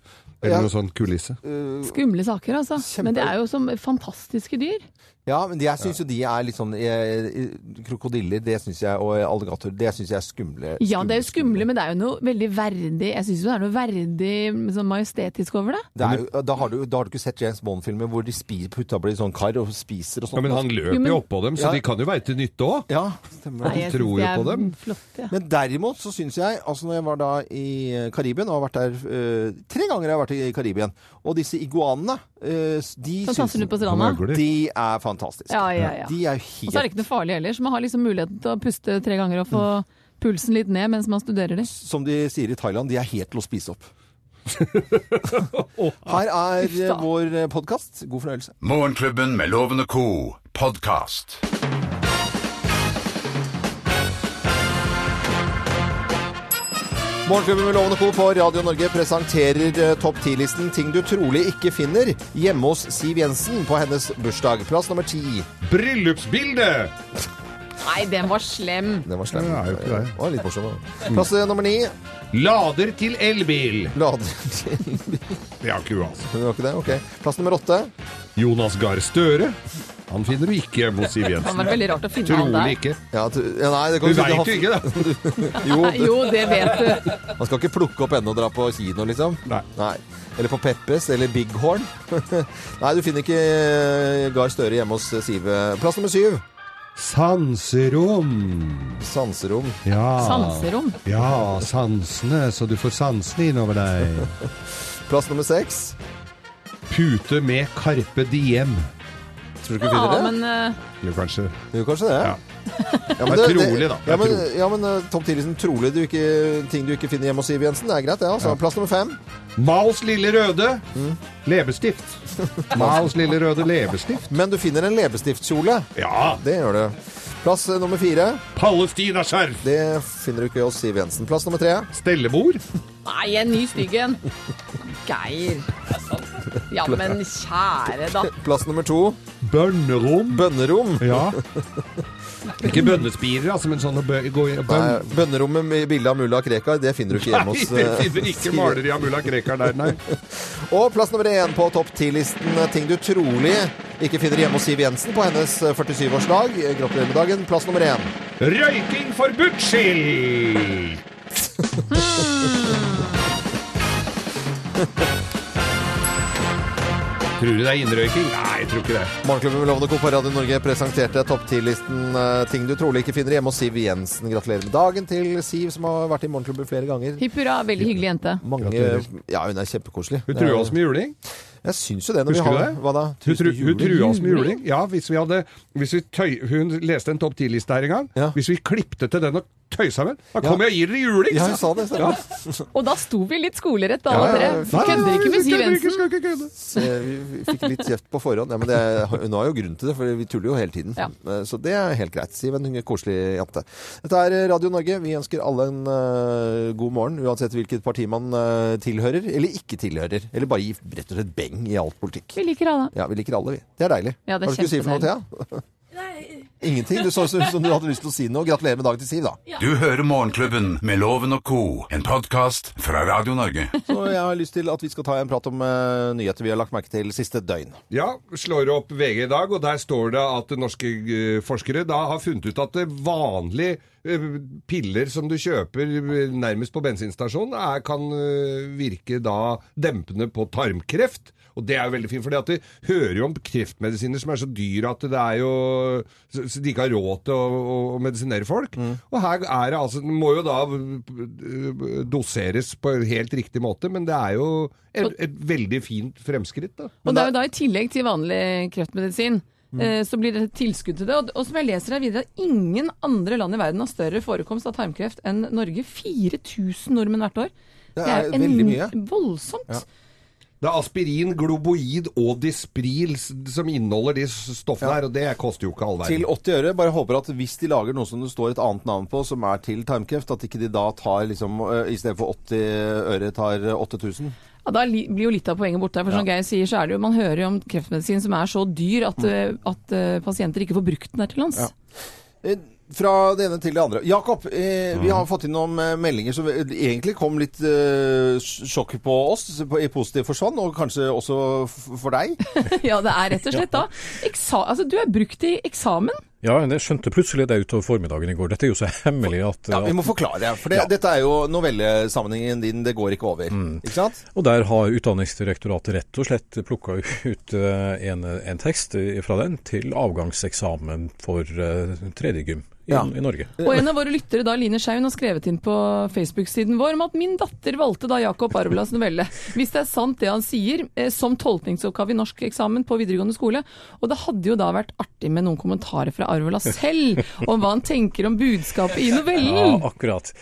Eller Ja. noe sånn kulisse. Eh, Skumle saker, altså. Kjempe- Men det er jo som fantastiske dyr. Ja, men jeg syns jo de er litt sånn eh, eh, Krokodiller det synes jeg, og eh, alligator det syns jeg er skumle. Ja, det er jo skumle, men det er jo noe veldig verdig Jeg syns jo det er noe verdig sånn majestetisk over det. Det er, jo- da, har du, da har du ikke sett James Bond-filmer hvor de spiser putta blir i sånn kar og spiser og sånt. Ja, men han løp Jo, men- jo oppå dem, så Ja. de kan jo være til nytte òg. Ja, stemmer det. Nei, jeg tror jo på dem. Flott, ja. Men derimot så syns jeg, altså når jeg var da i eh, Karibien, og har vært der eh, tre ganger jeg har vært i Karibien, og disse iguanene, eh, de Sånn syns tasser du på stranda. Kan øgle. De er fantastiske. Ja, ja, ja. De er Og helt så er det ikke noe farlig heller, så man har liksom muligheten til å puste tre ganger og få Mm. pulsen litt ned mens man studerer det. Som de sier i Thailand, de er helt til å spise opp. Her er eh, da. vår podkast. God fornøyelse. Morgenklubben med Loven og Co. podkast. Morgenklubben med Lovende Co på Radio Norge presenterer eh, topp 10-listen ting du trolig ikke finner hjemme hos Siv Jensen på hennes bursdag. Plass nummer ti. Bryllupsbilde! Nei, den var slem! Den var slem. Ja, det er jo ikke det. Den var litt morsom. da. Plass eh, nummer ni. Lader til elbil. Lader til Det har ikke hun, altså. Det var ikke det? Ok. Plass nummer åtte. Jonas Gahr Støre. Han finner du ikke hos Siv Det hadde Jensen. vært veldig rart å finne han Trolig der. ikke. Ja, t ja, nei, det Du kan si- veit jo ikke, da. Jo, Jo, det vet du. man skal ikke plukke opp ennå og dra på kino, liksom. Nei. Eller på Peppes eller Bighorn. nei, du finner ikke eh, Gahr Støre hjemme hos eh, Siv. Plass nummer syv. Sanserom. Sanserom. Ja. Sanserom. Ja, sansene, så du får sansene innover deg. Plass nummer seks. Pute med Carpe Diem. Tror du ikke du Ja, finner det? men eh, Eller kanskje Jo, kanskje det. Ja. Ja, Det er trolig, da. Det er Ja, men, trolig. ja, men eh, topp 10-listen trolig du ikke, ting du ikke finner hjemme hos Siv Jensen. Det er greit, det. Ja. Altså. Plass nummer fem. Maos lille røde leppestift. Maos lille røde leppestift. Men du finner en leppestiftkjole. Ja! Det gjør du. Plass eh, nummer fire. Palestinaskjerf. Det finner du ikke hos Siv Jensen. Plass nummer tre. Stellebord. Nei, en ny stygg en. Geir. Ja, men kjære, da. Plass nummer to. Bønnerom. Bønnerom. Ja. Ikke bønnespirer, altså, men sånn å bø gå i Nei, bønn... bønnerommet med bilde av mulla Krekar, det finner du ikke hjemme hos Nei, eh, vi finner ikke Siv. maleri av mulla Krekar der, nei. Og plass nummer én på topp ti-listen eh, ting du trolig ikke finner hjemme hos Siv Jensen på hennes eh, 47-årsdag. Eh, Gratulerer med dagen. Plass nummer én. Røyking forbudt skilt! Tror du det er innrøyking? Nei, jeg tror ikke det. Morgenklubben med Lovende Co på Radio Norge presenterte topp 10-listen eh, ting du trolig ikke finner hjemme hos Siv Jensen. Gratulerer med dagen til Siv, som har vært i Morgenklubben flere ganger. Hipp hurra, veldig hyggelig jente. Mange, Gratulerer. ja, hun er kjempekoselig. Hun trua oss med juling. Jeg syns jo det. Når Husker vi du har, det? Hva da? Hun, tru, hun trua oss med Juling? juling. Ja, hvis vi hadde hvis vi tøy, Hun leste en topp 10-liste her en gang. Ja. Hvis vi klipte til den og tøysa med. Da kommer jeg og gir dere juling! Ja, sa hun sa det. stemmer. Og da sto vi litt skolerett, da, Ja, ja, alle tre. ja. Vi Kødder ikke med Siv Kødder ikke, Jensen. skal ikke kødde. Så Vi vi fikk litt kjeft på forhånd. Ja, men det, er- hun har jo grunn til det, for vi tuller jo hele tiden. Ja. Eh, Så det er helt greit. Siv, en koselig jente. Dette er eh, Radio Norge. Vi ønsker alle en eh, god morgen, uansett hvilket parti man eh, tilhører, eller ikke tilhører. Eller bare gi rett og slett beng i alt politikk. Vi liker alle. Ja, vi liker alle, vi. Det er deilig. Ja, det er Hva skulle du si for noe, Thea? Ingenting? Du så ut som du hadde lyst til å si noe. Gratulerer med dagen til Siv, da. Du hører Morgenklubben med Loven og Co. En podkast fra Radio Norge. Så jeg har lyst til at vi skal ta en prat om eh, nyheter vi har lagt merke til siste døgn. Ja, slår opp VG i dag, og der står det at norske eh, forskere da har funnet ut at det vanlige eh, piller som du kjøper eh, nærmest på bensinstasjonen, er, kan eh, virke da dempende på tarmkreft. Og det er jo veldig fint, for det hører jo om kreftmedisiner som er så dyre at det er jo Så så de ikke har råd til å, å, å medisinere folk. Og her er det altså Den må jo da eh, doseres på en helt riktig måte, men det er jo et, et veldig fint fremskritt, da. Og det er jo da i tillegg til vanlig kreftmedisin. Mm. eh, Så blir det et tilskudd til det. Og, og som jeg leser her videre, at ingen andre land i verden har større forekomst av tarmkreft enn Norge. 4000 nordmenn hvert år. Det er veldig mye. voldsomt. Det er aspirin, globoid og dispril s- som inneholder de s- stoffene her, og det koster jo ikke all Til verden. 80 øre. Bare håper at hvis de lager noe som det står et annet navn på, som er til tarmkreft, at ikke de da tar liksom eh, I stedet for 80 øre tar eh, 8000. Ja, da li- blir jo litt av poenget borte. her, For som Geir sier, så er det jo, man hører jo om kreftmedisin som er så dyr at, Mm. eh, at eh, pasienter ikke får brukt den her til lands. Eh, Fra det ene til det andre. Jakob, eh, vi har fått inn noen eh, meldinger som egentlig kom litt eh, sj- sjokk på oss på, i positiv forstand, og kanskje også f for deg. Ja, det er rett og slett da. Eksa altså, du er brukt i eksamen. Ja, men jeg skjønte plutselig det utover formiddagen i går. Dette er jo så hemmelig at, Ja, Mm. Vi at må forklare, for det, dette er jo novellesammenhengen din 'Det går ikke over'. Ikke sant? Og der har Utdanningsdirektoratet rett og slett plukka ut eh, en, en tekst fra den til avgangseksamen for eh, tredje gym i, Ja. i Norge. Og en av våre lyttere, da, Line Skeien, har skrevet inn på Facebook-siden vår om at min datter valgte da Jakob Arvelas novelle. Hvis det er sant det han sier, eh, som tolkningsoppgave i norsk eksamen på videregående skole. Og det hadde jo da vært artig med noen kommentarer fra Arvela selv om hva han tenker om budskapet i Ja, novellen. akkurat.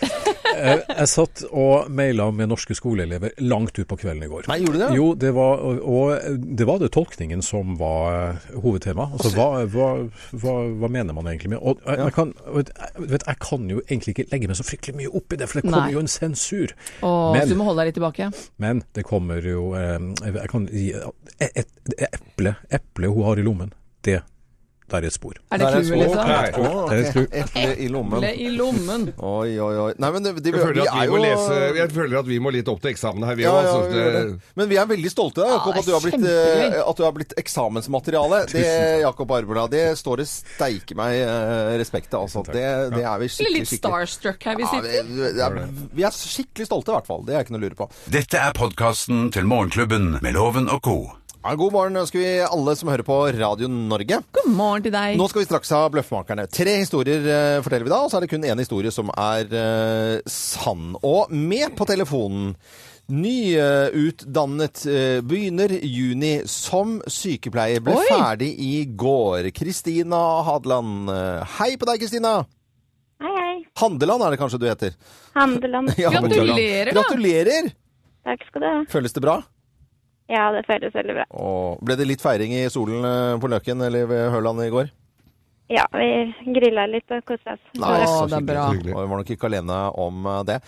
Eh, Jeg satt og maila med norske skoleelever langt utpå kvelden i går. Nei, gjorde du det? Jo, det var, og- og det var det tolkningen som var hovedtema. Altså, hva, hva, hva, hva mener man egentlig med Og jeg, jeg, kan, vet, jeg, vet, jeg kan jo egentlig ikke legge meg så fryktelig mye opp i det, for det kommer Nei. jo en sensur. Åh, Men- du må holde deg litt tilbake. Men det kommer jo eh, Jeg kan gi et- et- det eple, eple hun har i lommen. Det der er et spor. Er det Der er clouet, skoen. liksom? Nei. Å, Der er ok. skru. Eple i lommen. Eple i lommen. Oi, oi, oi. Nei, men det, det, Jeg føler, vi at vi er må jo- lese, jeg føler at vi må litt opp til eksamen her, vi Ja, òg. ja, vi gjør altså, det. Men vi er veldig stolte av Jakob, Ja, at, du har blitt, kjempegøy. eh, at du har blitt eksamensmateriale. Det, Jakob Arbeblad, det står det steike meg eh, respekt av. Altså. Det, det er vi Eller skikkelig, litt skikkelig starstruck her vi ja, sitter. vi, det er, vi er skikkelig stolte, i hvert fall. Det er ikke noe å lure på. Dette er podkasten til Morgenklubben med Loven og Co. Ja, god morgen ønsker vi alle som hører på Radio Norge. God morgen til deg. Nå skal vi straks ha Bløffmakerne. Tre historier eh, forteller vi da, og så er det kun én historie som er eh, sann. Og med på telefonen Nyutdannet eh, begynner juni som sykepleier. Ble Oi! ferdig i går. Kristina Hadeland. Eh, Hei på deg, Kristina! Hei, hei. Handeland er det kanskje du heter? Handeland. Ja, Gratulerer, Handeland. da. Gratulerer! Takk skal du ha. Føles det bra? Ja, det føles veldig bra. Og ble det litt feiring i solen eh, på Løken eller ved Høland i går? Ja, vi grilla litt og kosa oss. Nei, Å, så det er hyggelig, bra. så hyggelig. Og vi var nok ikke alene om eh, det.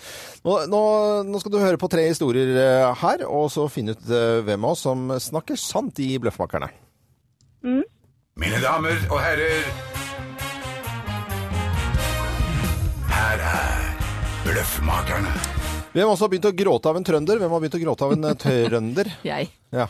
Nå, nå, nå skal du høre på tre historier eh, her, og så finne ut eh, hvem av oss som snakker sant i Bløffmakerne. Mine damer og herrer, her er Bløffmakerne. Hvem har også begynt å gråte av en trønder? Hvem har begynt å gråte av en eh, trønder? Jeg. Ja.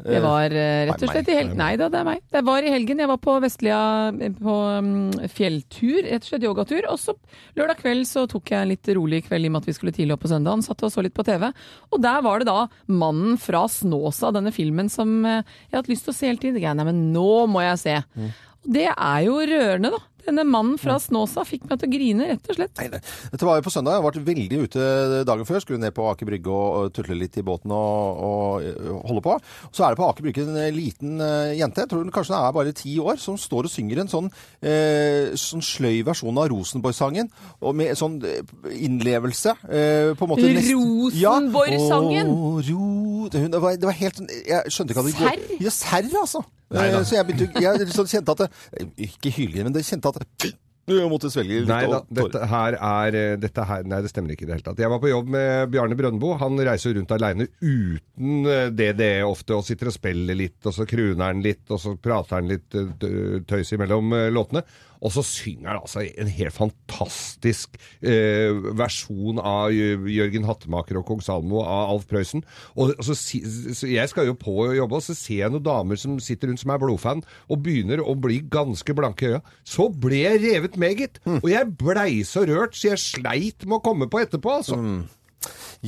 Det var eh, rett og nei, slett i helgen. Nei da, det er meg. Det var i helgen. Jeg var på Vestlia eh, på mm, fjelltur, rett og slett yogatur. Og så lørdag kveld så tok jeg en litt rolig kveld i og med at vi skulle tidlig opp på søndagen. Satt og så litt på TV. Og der var det da mannen fra Snåsa, denne filmen Mm. som eh, jeg har hatt lyst til å se hele tiden. Jeg, Nei, men nå må jeg se. Og Det er jo rørende, da. Denne mannen fra Snåsa fikk meg til å grine, rett og slett. Nei, nei. Dette var jo på søndag. Jeg har vært veldig ute dagen før. Skulle ned på Aker Brygge og, og tutle litt i båten og, og eh, holde på. Så er det på Aker Brygge en liten eh, jente, jeg tror hun kanskje hun er bare ti år, som står og synger en sånn, eh, sånn sløy versjon av Rosenborg-sangen. Og med sånn eh, innlevelse. Eh, på en måte nest- Rosenborg-sangen? Ja. Å, ro- det, hun- det, var, det var helt sånn Jeg skjønte ikke at det Serr? Ja, serr, altså. Eh, Så jeg, begynte, jeg liksom kjente at det, Ikke hyggelig, men det kjente at det, jeg måtte svelge litt. Nei da, og- dette her er eh, dette her, Nei, det stemmer ikke i det hele tatt. Jeg var på jobb med Bjarne Brøndbo. Han reiser jo rundt aleine uten eh, DDE ofte, og sitter og spiller litt, og så kruner han litt, og så prater han litt eh, tø- tøys imellom eh, låtene. Og så synger han altså en helt fantastisk eh, versjon av Jø- Jørgen Hattemaker og Kong Salmo av Alf Prøysen. Og så, si- så jeg skal jo på å jobbe, og så ser jeg noen damer som sitter rundt som er blodfan, og begynner å bli ganske blanke i øya. Så ble jeg revet med, gitt. Og jeg blei så rørt, så jeg sleit med å komme på etterpå, altså.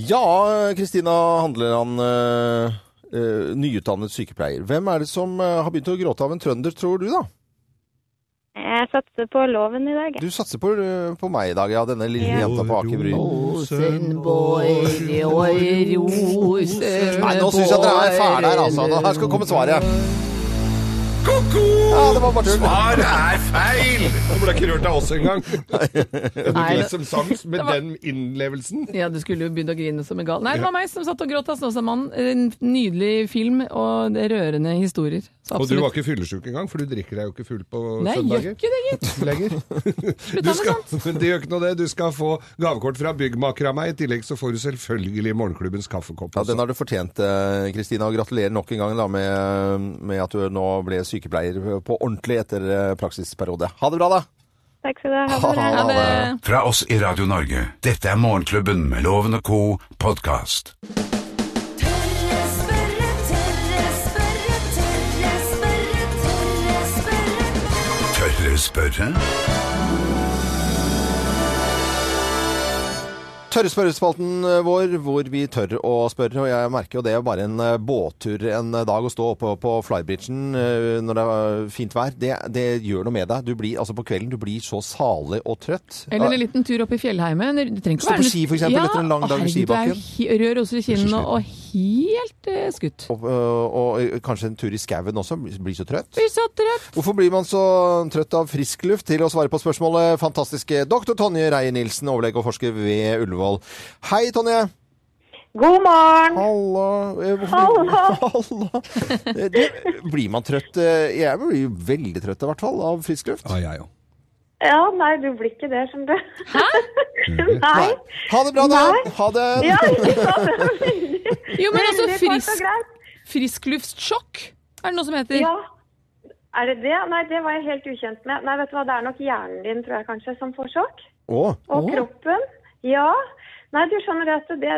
Ja, Kristina Handleland, eh, eh, nyutdannet sykepleier. Hvem er det som eh, har begynt å gråte av en trønder, tror du da? Jeg satser på loven i dag. jeg. Du satser på, eh, på meg i dag, ja. Denne lille Ja. jenta på Aker Brygge. Rosenborg, oi, Rosenborg Nei, nå syns jeg dere er fæle her, altså. Nå, her skal komme svaret. Ko-ko! Ja, det var bare tull. Svar er feil! Du ble ikke rørt av oss engang. Nei, Du det- som sang med var- den innlevelsen. Ja, du skulle jo begynne å grine som en gal. Nei, det var meg som satt og gråt av Snåsamannen. En nydelig film og det er rørende historier. Så Og du var absolutt. ikke fyllesyk engang, for du drikker deg jo ikke full på Nei, jeg gjør søndager. ikke det, gitt. lenger. Slutta Du med skal, men det gjør ikke noe det. Du skal få gavekort fra byggmaker av meg. I tillegg så får du selvfølgelig morgenklubbens kaffekopp. Ja, Også. Den har du fortjent, eh, Kristina. Og gratulerer nok en gang da, med, med at du nå ble sykepleier på ordentlig etter eh, praksisperiode. Ha det bra, da. Takk skal du ha. Ha det bra. Ja, det... Fra oss i Radio Norge. Dette er Morgenklubben med Loven og co. podkast. Tørre spørre, tørre spørre, tørre spørre, tørre spørre. Tørre spørre? Tørre spørrespalten vår, hvor vi tør å spørre. Og jeg merker jo det er bare en eh, båttur en dag å stå oppe på flybridgen eh, når det er fint vær. Det, det gjør noe med deg. Du blir, altså på kvelden du blir så salig og trøtt. Eller en liten tur opp i fjellheimen. Du trenger ikke Stå på være- ski, for eksempel, etter en lang dag i herregud, det er skibakken. he- Rød roser i kinnene og helt eh, skutt. Og, eh, og, og kanskje en tur i skauen også. Blir så trøtt. Vi satt rett. Hvorfor blir man så trøtt av frisk luft? Til å svare på spørsmålet, fantastiske doktor Tonje Reier-Nilsen, overlege og forsker ved Ullevål. Hei, Tonje. God morgen! Halla. Eh, hvorfor- Halla. Eh, du, Blir man trøtt? Eh, Jeg blir veldig trøtt i hvert fall av frisk luft. Ja, jeg òg. Ja, nei, du blir ikke det, skjønner du. Hæ? Nei. Ha det bra, da. Nei. Ha det. Ja, ikke sant? Det er veldig- Jo, men altså veldig kort og frisk, greit. friskluftsjokk er det noe som heter. Ja. Er det det? Nei, det var jeg helt ukjent med. Nei, vet du hva, det er nok hjernen din, tror jeg kanskje, som får sjokk. Å, Og Åh. kroppen. Ja. Nei, du skjønner det at det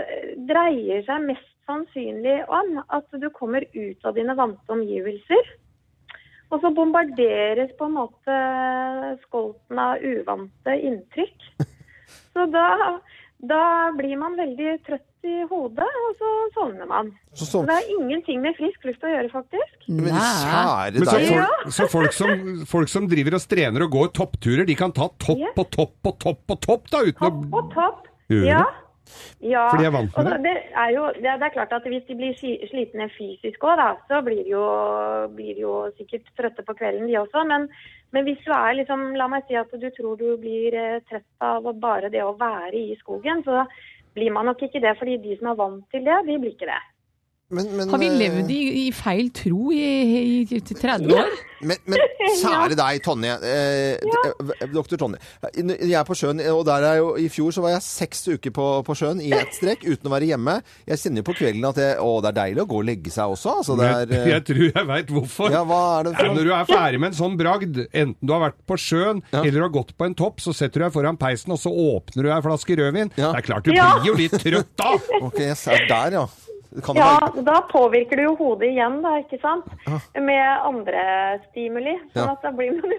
dreier seg mest sannsynlig om at du kommer ut av dine vante omgivelser. Og så bombarderes på en måte skolten av uvante inntrykk. Så da, da blir man veldig trøtt i hodet, og så sovner man. så Så så. det har ingenting med frisk luft å gjøre, faktisk. Men Nei. kjære Men så, deg. folk, så folk, som, folk som driver og strener og går toppturer, de kan ta topp Ja. på topp på topp på topp, da, uten Topp å og topp. Gjør Ja. det? ja. For de er vant med Og det. Det er, jo, det, er, det er klart at hvis de blir sli- slitne fysisk òg, da, så blir de, jo, blir de jo sikkert trøtte på kvelden, de også. Men, men hvis du er liksom La meg si at du tror du blir eh, trøtt av å bare det å være i skogen, så blir man nok ikke det. fordi de som er vant til det, de blir ikke det. Men- men, Har vi eh, levd i, i feil tro i, i, i 30 år? Men, men kjære deg, Tonje. Eh, eh, Doktor Tonje. Eh, Jeg er på sjøen, og der er jo, i fjor så var jeg seks uker på, på sjøen i ett strekk uten å være hjemme. Jeg kjenner jo på kvelden at det, å, det er deilig å gå og legge seg også. Altså, det jeg, er, eh, jeg tror jeg veit hvorfor. ja, hva er det Ja, for Når noe? du er ferdig med en sånn bragd, enten du har vært på sjøen eller du har gått på en topp, så setter du deg foran peisen og så åpner du ei flaske rødvin. Ja. Det er klart du Ja. blir jo litt trøtt da! Ok, jeg ser der, ja. Kan det Ja, være da påvirker det jo hodet igjen, da, ikke sant? Med andre stimuli. Sånn Ja. at da blir man,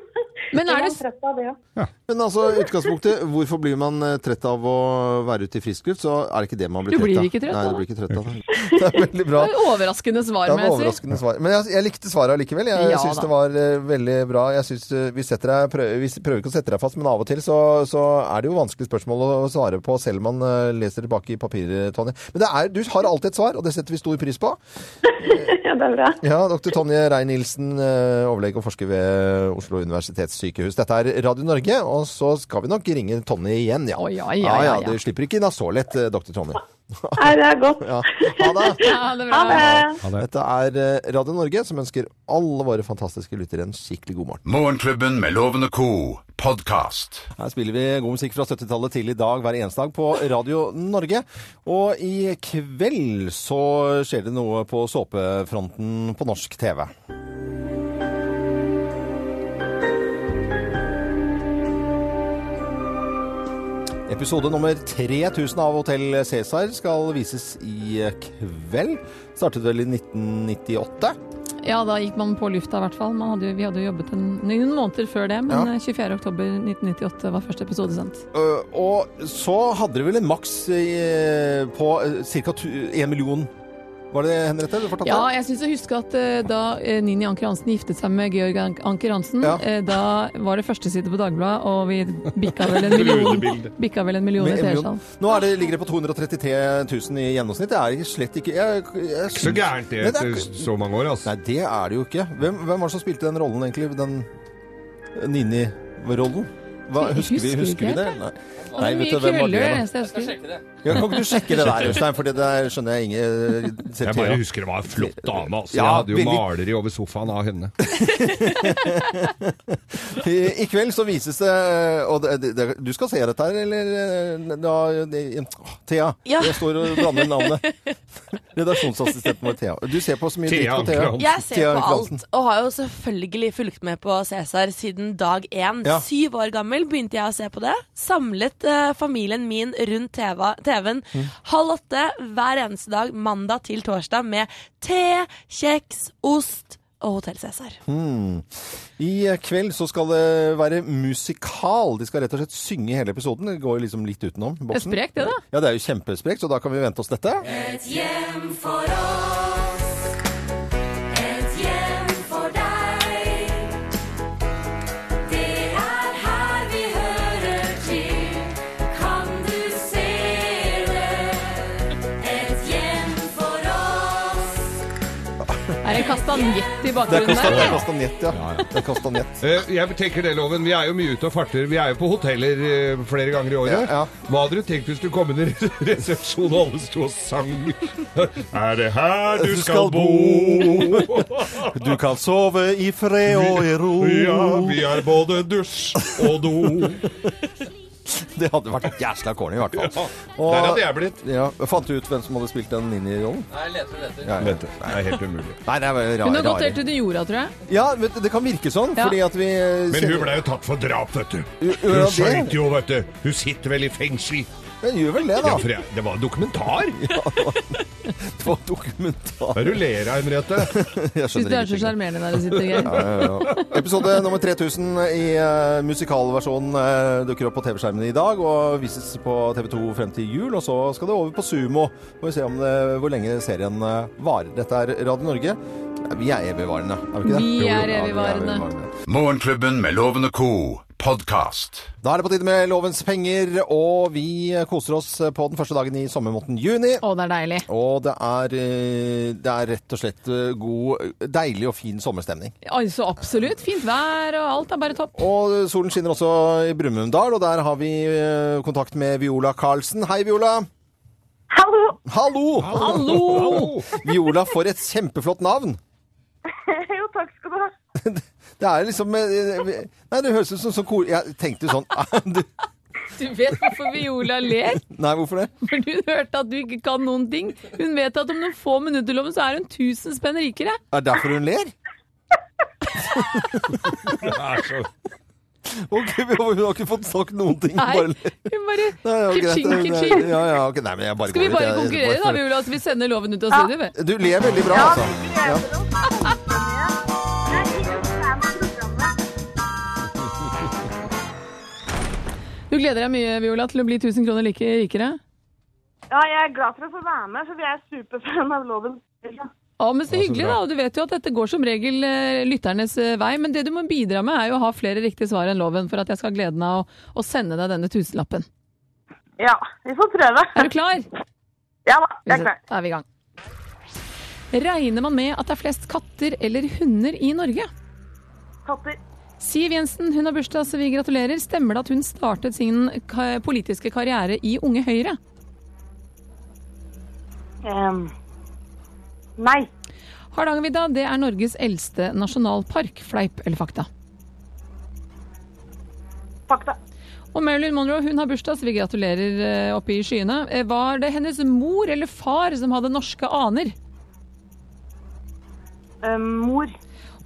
Men er blir man det- trøtt av det òg. Men altså, i utgangspunktet, hvorfor blir man eh, trett av å være ute i frisk luft? Så er det ikke det man blir Du blir trett av. ikke trett Nei, av du blir ikke trett av det. Det er veldig bra. Det er Overraskende svar, Det må var jeg si. overraskende svar. Men jeg, jeg likte svaret allikevel. Jeg Ja, syns da. det var eh, veldig bra. Jeg synes, eh, vi, setter deg, prøver, vi prøver ikke å sette deg fast, men av og til så, så er det jo vanskelige spørsmål å svare på, selv om man eh, leser tilbake i papiret, Tonje. Men det er, du har alltid et svar, og det setter vi stor pris på. Ja, det er bra. Ja, Dr. Tonje Rein-Nielsen, eh, overlege og forsker ved Oslo universitetssykehus. Dette er Radio Norge, og så skal vi nok ringe Tonje igjen, ja. Å, ja, ja, ja, ja. Du slipper ikke unna så lett, eh, dr. Tonje. Nei, det er godt. Ja. Ha det! Ja, det er Ha bra. det. Dette er eh, Radio Norge, som ønsker alle våre fantastiske lyttere en skikkelig god morgen. Morgenklubben med Loven og co. podkast. Her spiller vi god musikk fra 70-tallet til i dag hver eneste dag på Radio Norge. Og i kveld så skjer det noe på såpefronten på norsk TV. Episode nummer 3000 av Hotell Cæsar skal vises i kveld. Startet vel i 1998. Ja, da gikk man på lufta i hvert fall. Man hadde, jo- vi hadde jo jobbet en, noen måneder før det, men Ja. eh, 24. oktober 1998 var første episode sendt. Øh, og så hadde dere vel en maks eh, på ca. 1 million. Var det det, Henriette? Du fortalte Ja, jeg syns jeg husker at eh, da eh, Nini Anker Hansen giftet seg med Georg An- Anker Hansen, Ja. eh, da var det førsteside på Dagbladet, og vi bikka vel en million, Rutebilde. bikka vel en million Med i en million. seertall. Nå er det, ligger det på 233 000 i gjennomsnitt. Det er ikke- slett ikke jeg, jeg, Ikke så gærent det Nei, etter så mange år, altså. Nei, det er det jo ikke. Hvem, hvem var det som spilte den rollen, egentlig? Den Nini-rollen? Hva, Jeg husker vi, husker husker vi ikke det? helt, Nei. Og så Nei, vet mye du hvem var krøller, det? det da? eneste jeg husker. Ja, kan ikke du sjekke det der, Øystein? For det der skjønner jeg ingen eh, ser Jeg til, ja. bare husker det var en flott dame, altså. Jeg Ja, hadde jo veldig- maleri over sofaen av henne. I i kveld så vises det eh, og det, det, det, Du skal se dette her, eller? eh, Da, det, åh, Thea. Ja. Jeg står og blander navnet. Redaksjonsassistenten vår Thea. Du ser på så mye Thea dritt på Anker Thea. Hansen. Jeg ser Thea på Anker Hansen. alt, og har jo selvfølgelig fulgt med på Cæsar siden dag én. Ja. Syv år gammel begynte jeg å se på det. Samlet eh, familien min rundt TV TV-en halv åtte hver eneste dag, mandag til torsdag, med te, kjeks, ost og Hotell Cæsar. I eh, kveld så skal det være musikal. De skal rett og slett synge hele episoden. Det går jo liksom litt utenom Det er boksen. sprekt, det, da. Ja, det er jo kjempesprekt, så da kan vi vente oss dette. Et hjem for oss, et hjem for deg. Det er her vi hører til, kan du se det? Et hjem for oss. Er det en kastanjett i Det er bakgrunnen kastan- der? det er eller? kastanjett, ja. Det er kastanjett. Eh, Jeg tenker det, Loven. Vi er jo mye ute og farter. Vi er jo på hoteller eh, flere ganger i året. Ja, ja. Hva hadde du tenkt hvis du kom inn i resepsjonen og alle sto og sang? Er det her du skal bo? Du kan sove i fred og i ro. Ja, vi er både dusj og do. Det hadde vært jæsla corny, i hvert fall. Der hadde jeg blitt. Ja, Fant du ut hvem som hadde spilt den Nini-rollen? Nei, leter og leter. Det er helt umulig. Nei, det er vel Hun har rar, gått rar. helt under jorda, tror jeg. Ja, vet du, det kan virke sånn, Ja. fordi at vi eh, Men hun kjenner- ble jo tatt for drap, vet du. Hun Hun gjør skjøt det. jo, vet du. Hun sitter vel i fengsel. Hun gjør vel det, Ja, da. for jeg, det var en dokumentar. Det var dokumentar. Hva er det du ler av, Henriette? Syns du Jeg skjønner er så ingenting. sjarmerende der du sitter, Geir. Ja, ja, ja. Episode nummer 3000 i eh, musikalversjonen eh, dukker opp på TV-skjermen i dag og vises på TV2 frem til jul. Og så skal det over på Sumo. Får vi se om det, hvor lenge serien eh, varer. Dette er Radio Norge. Ja, Vi er evigvarende, er vi ikke det? Vi Jo, jo. er Ja, vi evigvarende. Morgenklubben med Loven og co. podkast. Da er det på tide med Lovens penger, og vi koser oss på den første dagen i sommermåneden juni. Å, det er deilig. Og det er, eh, det er rett og slett eh, god, deilig og fin sommerstemning. Altså, absolutt. Fint vær og alt er bare topp. Og solen skinner også i Brumunddal, og der har vi eh, kontakt med Viola Karlsen. Hei, Viola! Hallo! Hallo! Hallo! Viola, for et kjempeflott navn! Jo, takk skal du ha. Det er liksom eh, Nei, det høres ut som sånn kor... Jeg tenkte jo sånn du- Du vet hvorfor Viola ler? Nei, hvorfor det? For du hørte at du ikke kan noen ting. Hun vet at om noen få minutter loven, så er hun 1000 spenn rikere. Er det derfor hun ler? Det er så- Ok, vi har, vi har ikke fått sagt noen ting. Nei, Bare, hun bare Nei, ja, greit. kitsching, Det- det- kitsching. Ja, ja, ok, nei, men jeg bare Skal vi går ut, bare jeg- jeg- konkurrere, da? Vi vil at vi sender loven ut av studio. vi. Du ler veldig bra, altså. Ja. Du gleder deg mye, Viola, til å bli 1000 kroner like rikere? Ja, jeg er glad for å få være med, for jeg er superfan av loven. Ja, men så Ja, så hyggelig, bra. da. Og du vet jo at dette går som regel eh, lytternes eh, vei. Men det du må bidra med, er jo å ha flere riktige svar enn loven for at jeg skal ha gleden av å, å sende deg denne tusenlappen. Ja, vi får prøve. Er du klar? Ja da, jeg er klar. Da er vi i gang. Regner man med at det er flest katter eller hunder i Norge? Katter. Siv Jensen, hun har bursdag, så vi gratulerer. Stemmer det at hun startet sin ka politiske karriere i Unge Høyre? Ehm, nei. Hardangervidda, det er Norges eldste nasjonalpark. Fleip eller fakta? Fakta. Og Marilyn Monroe hun har bursdag, så vi gratulerer eh, oppe i skyene. Eh, Var det hennes mor eller far som hadde norske aner? Ehm, mor.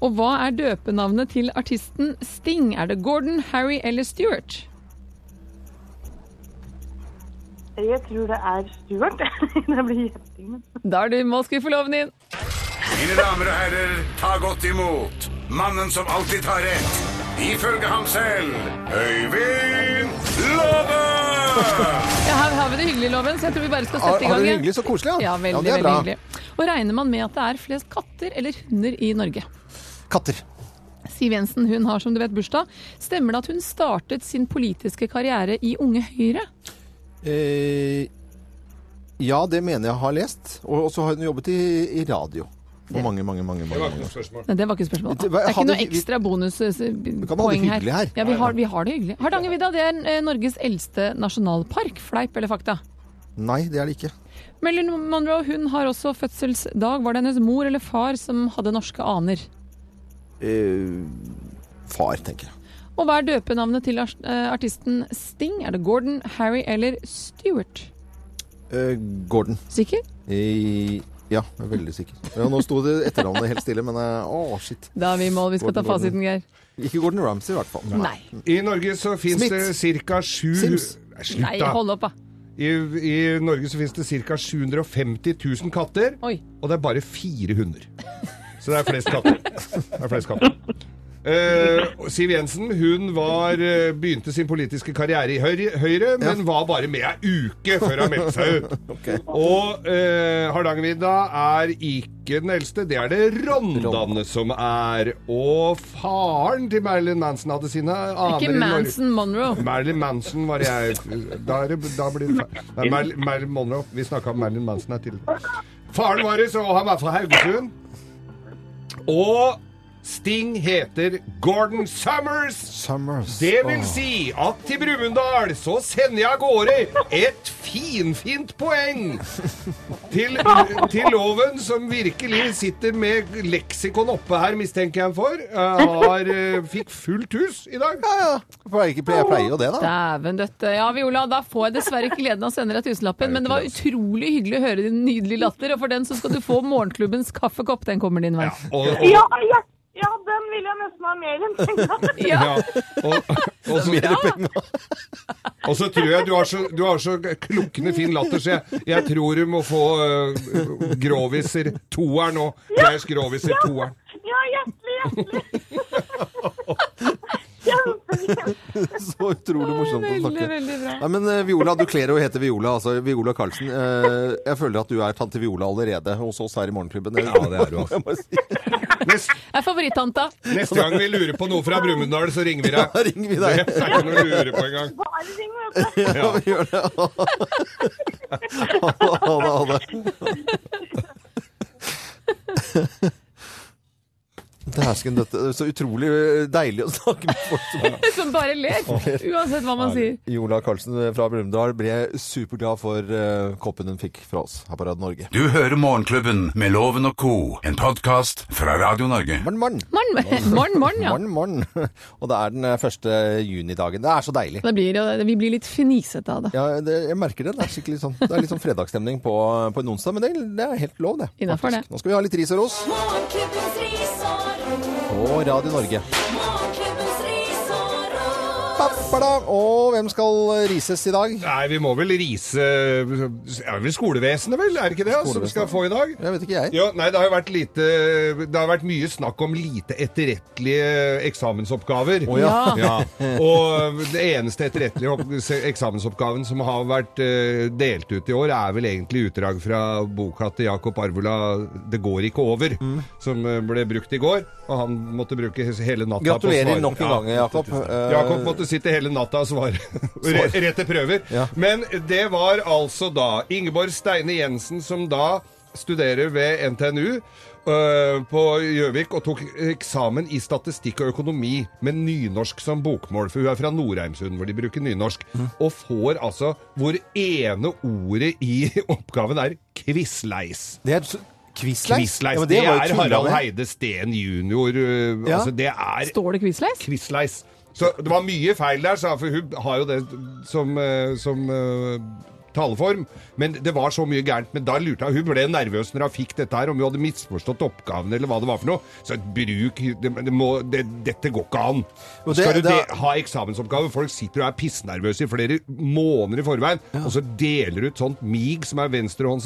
Og hva er døpenavnet til artisten Sting? Er det Gordon, Harry eller Stewart? Jeg tror det er Stuart. det blir gjetting. men- Da er du må skrive loven inn. Mine damer og herrer, ta godt imot mannen som alltid tar rett. Ifølge ham selv Øyvind Låve! Ja, her har vi det hyggelig, Loven, så jeg tror vi bare skal Har, sette i har gang. du det ja. hyggelig? Så koselig, Ja, veldig, det er veldig bra. hyggelig. Og regner man med at det er flest katter eller hunder i Norge? Katter. Siv Jensen hun har som du vet bursdag. Stemmer det at hun startet sin politiske karriere i Unge Høyre? Eh, ja, det mener jeg har lest. Og og så har hun jobbet i, i radio. For mange, mange, mange, mange, mange år. spørsmål. Nei, det var ikke spørsmålet. Det Det var- er ikke hadde noe vi- vi- ekstra kan ha det bonuspoeng her. hyggelig her. Ja, vi har, vi har det hyggelig. Hardangervidda det er eh, Norges eldste nasjonalpark. Fleip eller fakta? Nei, det er det ikke. Marilyn Monroe hun har også fødselsdag. Var det hennes mor eller far som hadde norske aner? Eh, far, tenker jeg. Og hva er døpenavnet til ars- eh, artisten Sting? Er det Gordon, Harry eller Stewart? Eh, Gordon. Sikker? I, ja, jeg er veldig sikker. Ja, nå sto det etternavnet helt stille, men eh, å, shit. Da er vi i mål. Vi skal ta Gordon, Gordon. fasiten, Geir. Ikke Gordon Ramsay, i hvert fall. Nei. I Norge så fins Smith. det ca. 7 Sims. Nei, Nei, Slutt, da. hold opp, da. I, I Norge så fins det ca. 750 000 katter, Oi. og det er bare fire hunder. Så det er flest katter. Det er flest katter. Eh, og Siv Jensen hun var, eh, begynte sin politiske karriere i Høyre, Høyre men var bare med ei uke før hun meldte seg ut. Og eh, Hardangervidda er ikke den eldste, det er det Rondane som er. Og faren til Marilyn Manson hadde sine aner Ikke i Norge. Manson Monroe. Marilyn Manson var jeg Da, er det- da blir det feil. Nei, Mar- Marilyn Monroe. Vi snakka om Marilyn Manson her tidligere. Faren vår så han var fra Haugesund. Og Sting heter Gordon Summers. Summers. Det vil Åh. si at til Brumunddal så sender jeg av gårde et finfint poeng til, til loven, som virkelig sitter med leksikon oppe her, mistenker jeg ham for. Jeg har, eh, fikk fullt hus i dag. Ja, ja. Jeg pleier, ikke- jeg pleier jo det, da. Dæven døtte. Ja, Viola, da får jeg dessverre ikke gleden av å sende deg tusenlappen, men det var utrolig hyggelig å høre din nydelige latter, og for den så skal du få morgenklubbens kaffekopp. Den kommer din vei. Og, og, Ja, ja, ja, den vil jeg nesten ha mer enn tenkt. Ja. Og, og, så, og så tror jeg du har så, du har så klukkende fin latter, så jeg, jeg tror du må få uh, Groviser toeren nå. Geirs Groviser toeren. Ja, hjertelig, hjertelig. Kjempegøy. Så utrolig morsomt å Veldig, snakke. veldig bra. Nei, men eh, Viola, du kler jo å hete Viola, altså Viola Karlsen. Eh, jeg føler at du er tante Viola allerede hos oss her i Morgenklubben. Ja, det er du altså. Nest, Jeg er favorittanta. neste gang vi lurer på noe fra Brumunddal, så ringer vi deg. Da ringer vi Det deg. er ikke noe å lure på engang. Bare ring, vet du. Ja, vi gjør det. Ha det, ha det, ha det. Dæsken, dette er så utrolig eh, deilig å snakke med folk som Som bare ler, uansett hva man sier. Jola Karlsen fra Brumunddal ble superglad for eh, koppen hun fikk fra oss her på Radio Norge. Du hører Morgenklubben med Loven og co., en podkast fra Radio Norge. Morn, morn. Morgen, morgen, morgen, ja. Morn, morn. Og det er den eh, første junidagen. Det er så deilig. Det blir, jo- vi blir litt fnisete av det. Ja, det, jeg merker det. Det er, skikkelig sånn, det er litt sånn fredagsstemning på, på en onsdag, men det, det er helt lov, det. Innenfor faktisk. det. Nå skal vi ha litt ris og ros Morgenklubbens ris og ros. på Radio Norge. Morgenklubbens ris og ros. Ba-ba-ba-da. Og hvem skal rises i dag? Nei, vi må vel rise øh, Er det skolevesenet, vel? Er det ikke det altså, som vi skal få i dag? Jeg vet ikke, jeg. Ja, nei, det har jo vært lite Det har vært mye snakk om lite etterrettelige eksamensoppgaver. ja. Ja. Og det eneste etterrettelige opp- eksamensoppgaven som har vært eh, delt ut i år, er vel egentlig utdrag fra boka til Jakob Arvula 'Det går ikke over', Mm. som eh, ble brukt i går. Og han måtte bruke hele natta på å Gratulerer svare. nok en gang, Jakob. Eh, Jakob måtte sitte hele natta og svare. Re- Rett til prøver. Ja. Men det var altså da Ingeborg Steine Jensen som da studerer ved NTNU øh, på Gjøvik og tok eksamen i statistikk og økonomi med nynorsk som bokmål. For hun er fra Norheimsund, hvor de bruker nynorsk. Mm. Og får altså hvor ene ordet i oppgaven er quisleis. Det er Quizleis? Quisleis. Ja, men det, var jo er tulla Harald med. Heide Steen jr. øh, Ja. Altså, det er Står det quizleis? Quizleis. Så det var mye feil der, sa jeg, for hun har jo det som, eh, som eh, taleform. Men det var så mye gærent. Men da lurte jeg, hun ble nervøs når hun fikk dette her, om hun hadde misforstått oppgaven eller hva det var for noe. Så bruk det, det må, det, Dette går ikke an. Og det- Skal du det er- de, ha eksamensoppgave? Folk sitter og er pissnervøse i flere måneder i forveien, og så deler du ut sånt mig som er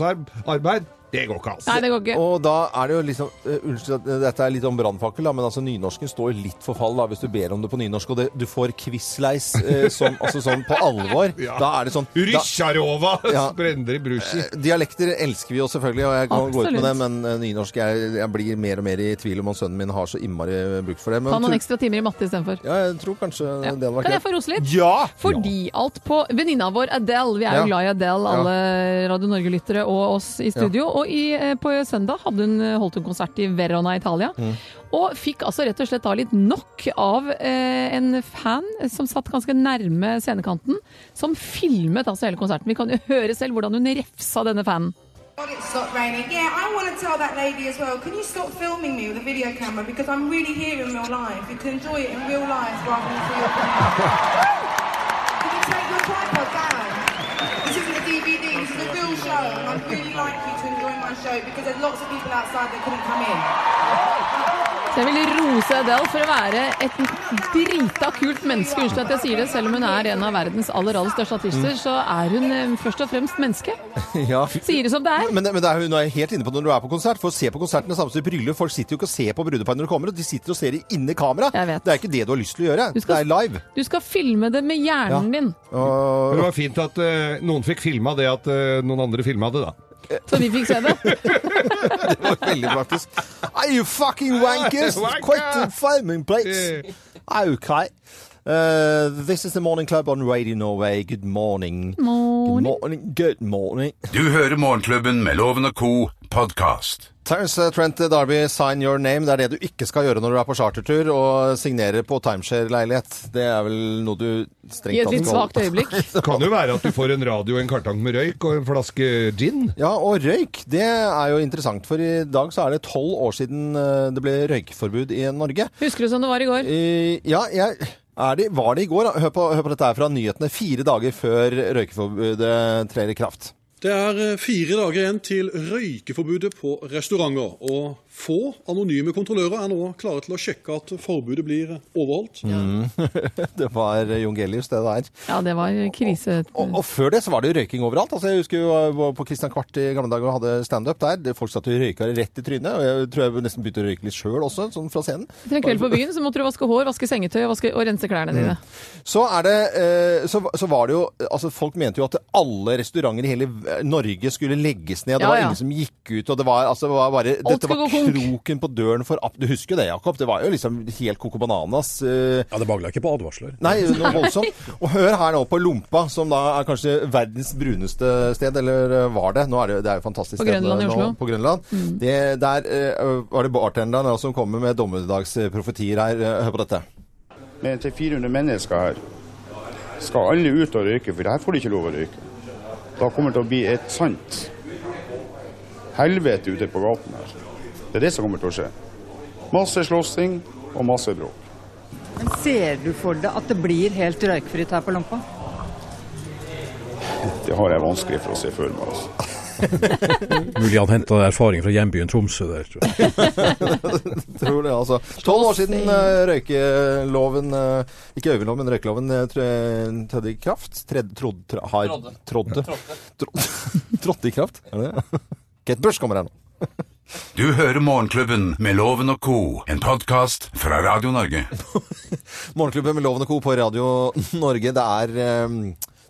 venstrehåndsarbeid. Det går ikke altså. an. Nei, det går ikke. Og da er det jo liksom eh, Unnskyld at dette er litt om brannfakkel, da, men altså nynorsken står jo litt for fall da, hvis du ber om det på nynorsk, og det, du får quizleis eh, som, altså, sånn på alvor. Ja. Da er det sånn da, Rysjarova! Ja. Brenner i brusji. Dialekter elsker vi jo selvfølgelig, og jeg kan gå ut med Absolutt. det, men eh, nynorsk jeg, jeg blir mer og mer i tvil om om sønnen min har så innmari bruk for det. Men Ta noen tro- ekstra timer i matte istedenfor. ja, jeg tror kanskje Ja. det hadde vært Kan jeg få rose litt? Ja! Fordi alt på Venninna vår Adele, vi er Ja. jo glad i Adele, Ja. alle Radio Norge-lyttere og oss i studio. Og i, eh, på søndag hadde hun, eh, holdt hun konsert i Verona, Italia. Mm. Og fikk altså rett og slett da litt nok av eh, en fan som satt ganske nærme scenekanten, som filmet altså hele konserten. Vi kan jo høre selv hvordan hun refsa denne fanen. God, it stopped raining. Yeah, I want to tell that lady as well. Can you stop filming me with a video camera because I'm really here in real life. You can enjoy it in real life rather than through your camera. Can you take your tripod down? This isn't a DVD. This is a real show, and I'd really like you to enjoy my show because there's lots of people outside that couldn't come in. Så jeg vil rose Adele for å være et drita kult menneske. Unnskyld at jeg sier det, selv om hun er en av verdens aller aller største artister, så er hun eh, først og fremst menneske. Ja. Sier det som det er. Men, men det er, jo- nå er jeg helt inne på det når du er på konsert, for å se på konserten er samme som i bryllup. Folk sitter jo ikke og ser på brudeparet når de kommer, og de sitter og ser i- inni kamera. Jeg vet. Det er ikke det du har lyst til å gjøre. skal- Det er live. Du skal filme det med hjernen din, Men Det var fint at eh, noen fikk filma det at eh, noen andre filma det, da. så vi fikk se det. Veldig praktisk. Are you fucking wankers? Wanker! Quit filming, please. Okay. Uh, this is the morning club on Radio Norway. Good morning. Good morning. Good morning. Du hører Morgenklubben med Loven og Co. podkast. Terence eh, Trent Darby, sign your name. Det er det du ikke skal gjøre når du er på chartertur og signerer på timeshare-leilighet. Det er vel noe du I strengt et litt skal holde svakt øyeblikk. Det kan jo være at du får en radio, en kartong med røyk og en flaske gin. Ja, og røyk, det er jo interessant, for i dag så er det tolv år siden eh, det ble røykforbud i Norge. Husker du som det var i går? Eh, Ja, jeg... Er det, var det i går? da? Hør på, hør på dette her fra nyhetene fire dager før røykeforbudet trer i kraft. Det er eh, fire dager igjen til røykeforbudet på restauranter. Og få anonyme kontrollører er nå klare til å sjekke at forbudet blir overholdt. Det var Jon Gellius, det der. Ja, det var krise. Og, og før det så var det jo røyking overalt. Altså, jeg husker jo jeg var på Christian Kvart i gamle dager og hadde standup der. Det- Folk satt og røyka rett i trynet. Og jeg tror jeg nesten begynte å røyke litt sjøl også, sånn fra scenen. Etter en kveld på byen så måtte du vaske hår, vaske sengetøy og, vaske, og rense klærne dine. Så, er det, eh, så, så var det jo Altså, folk mente jo at alle restauranter i hele v- Norge skulle legges ned. Det Ja, var ja. ingen som gikk ut, og det var, altså, det var bare Dette skulle var gå konk. kroken på døren for app... Du husker jo det, Jakob? Det var jo liksom helt coco bananas. eh, Ja, det mangla ikke på advarsler. Nei, noe voldsomt. Og hør her nå på Lompa, som da er kanskje verdens bruneste sted, eller eh, var det? Nå er det, det er jo et fantastisk På sted eh, Grønland i nå, Oslo. Mm. På Grønland. Det, der eh, var det bartenderen da som kommer med dommedagsprofetier her. Eh, Hør på dette. med til 400 mennesker her, skal alle ut og røyke, for her får de ikke lov å røyke. Da kommer det til å bli et sant helvete ute på gaten her. Det er det som kommer til å skje. Masse slåssing og masse bråk. Ser du for deg at det blir helt røykfritt her på Lompa? Det har jeg vanskelig for å se for meg. altså. Mulig han henta erfaring fra hjembyen Tromsø der. Tror jeg. Tror det, altså. Tolv år siden eh, røykeloven eh, Ikke øyeloven, men røykeloven eh, trø- trådte i kraft. Tred, trod, tr, har, Trådde. trådde. Trådte. Trå- Trådte i kraft? Er det det? Kate Bush kommer her nå. Du hører Morgenklubben med Loven og co., en podkast fra Radio Norge. Morgenklubben med Loven og Co. på Radio Norge. Det er, eh,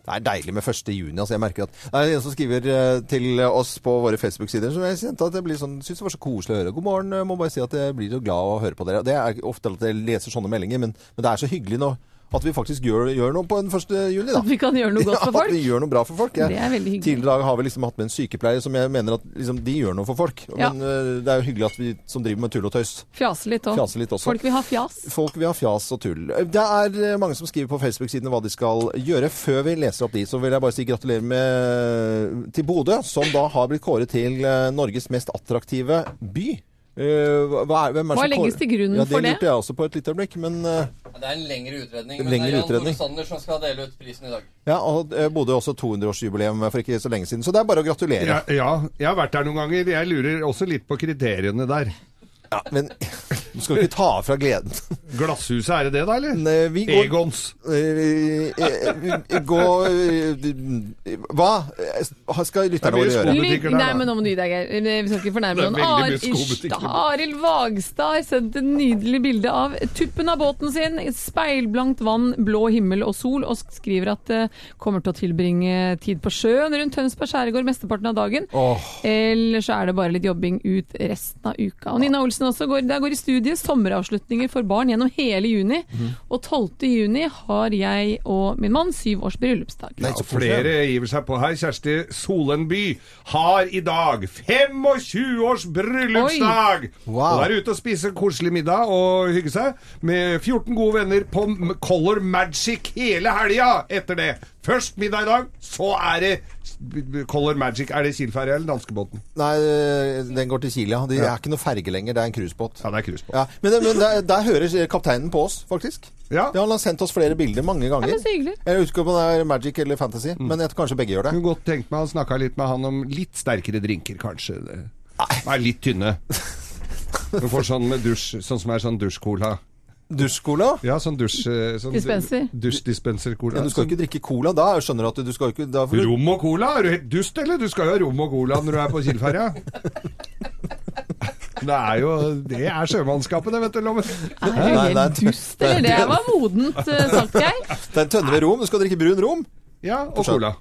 det er deilig med 1. juni. Altså jeg merker at det er en som skriver eh, til oss på våre Facebook-sider som jeg kjente at jeg blir sånn, synes det var så koselig å høre. God morgen. Jeg må bare si at jeg blir så glad av å høre på dere. Det er ofte at jeg leser sånne meldinger, men, men det er så hyggelig nå at vi faktisk gjør, gjør noe på den 1. juli, da. At vi kan gjøre noe godt for Ja, folk. at vi gjør noe bra for folk. Jeg- Det er veldig hyggelig. Tidligere i dag har vi liksom hatt med en sykepleier som jeg mener at liksom, de gjør noe for folk. Ja. Men eh, det er jo hyggelig at vi som driver med tull og tøys. Fjase litt òg. Fjase litt også. Folk vil ha fjas. Folk vil ha fjas og tull. Det er eh, mange som skriver på Facebook-sidene hva de skal gjøre. Før vi leser opp de, så vil jeg bare si gratulerer med, til Bodø, som da har blitt kåret til eh, Norges mest attraktive by. Eh, hva er, hvem er Hva som legges kårer- til grunn ja, for det? Det lurte jeg også på et lite øyeblikk, men eh, Ja, det er en lengre utredning, En men lengre det er Jan utredning. Tore Sanner som skal dele ut prisen i dag. ja, og eh, Bodø også 200-årsjubileum for ikke så lenge siden, så det er bare å gratulere. Ja, ja, jeg har vært der noen ganger. Jeg lurer også litt på kriteriene der. men du skal ikke ta fra gleden. Glasshuset, er det det da, eller? Nei, vi går- Egons. Eh, eh, eh, Gå eh, Hva eh, skal lytterne våre gjøre? Lytt- Nei, men nå må du gi deg, Geir. Eh, Vi skal ikke fornærme Det er noen. veldig mye Arild- skobutikker. Ish, Arild Vagstad har sendt et nydelig bilde av tuppen av båten sin. Speilblankt vann, blå himmel og sol, og skriver at det kommer til å tilbringe tid på sjøen rundt Tønsberg skjærgård mesteparten av dagen. Eller så er det bare litt jobbing ut resten av uka. Og Nina Olsen også går, der går i studiet sommeravslutninger for barn gjennom hele juni. Mhm. Og 12. juni har jeg og min mann syv års bryllupsdag. Ja, flere giver seg på her. Kjersti Solenby har i dag 25 års bryllupsdag! Oi. Wow. Wow. Og er ute og spiser koselig middag og hygge seg med 14 gode venner på M- Color Magic hele helga etter det. Først middag i dag, så er det b- b- Color Magic. Er det Kielferja eller danskebåten? Nei, eh, den går til Kilia. Det er ikke noe ferge lenger, det er en cruisebåt. Ja, det er cruisebåt. Ja, men men der, der hører kapteinen på oss, faktisk. Ja. han har sendt oss flere bilder mange ganger. men så hyggelig. Jeg husker ikke om det er Magic eller Fantasy, Mm. men jeg tror kanskje begge gjør det. Kunne godt tenkt meg å snakke litt med han om litt sterkere drinker, kanskje. Det- Nei, litt tynne. Du får sånn med dusj, sånn som er sånn dusjcola. Mm. Dusjcola? Ja, sånn dusj... eh, Sånn Dispenser. Dusjdispenser-cola. Ja, du skal ikke drikke cola da, jeg skjønner at du, du skal ikke da får du- Rom og cola? Er du helt dust, eller? Du skal jo ha rom og cola når du er på Kielferja. Det er jo Det er sjømannskapet, det, vet du, Loven. Er du helt dust, eller? Det her var modent eh, sagt, Geir. Det er en tønne med rom, du skal drikke brun rom. Ja, og cola.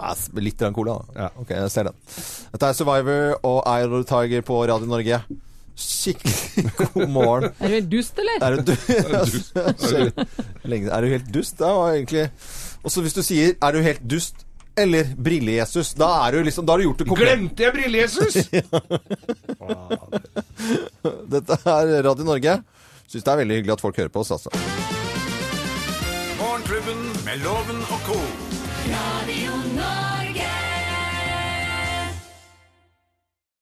Ja, s- litt grann cola, da. Ok, jeg ser den. Dette er Survivor og Idol Tiger på Radio Norge. Skikkelig god morgen. Er du helt dust, eller? Er du, Lenge- er du helt dust? Det var egentlig Og så hvis du sier 'er du helt dust' eller 'Brille-Jesus', da er du liksom Da har du gjort det komplett. Glemte jeg brille-Jesus? Dette er Radio Norge. Syns det er veldig hyggelig at folk hører på oss, altså. Morgenklubben med Loven og co. Radio Norge.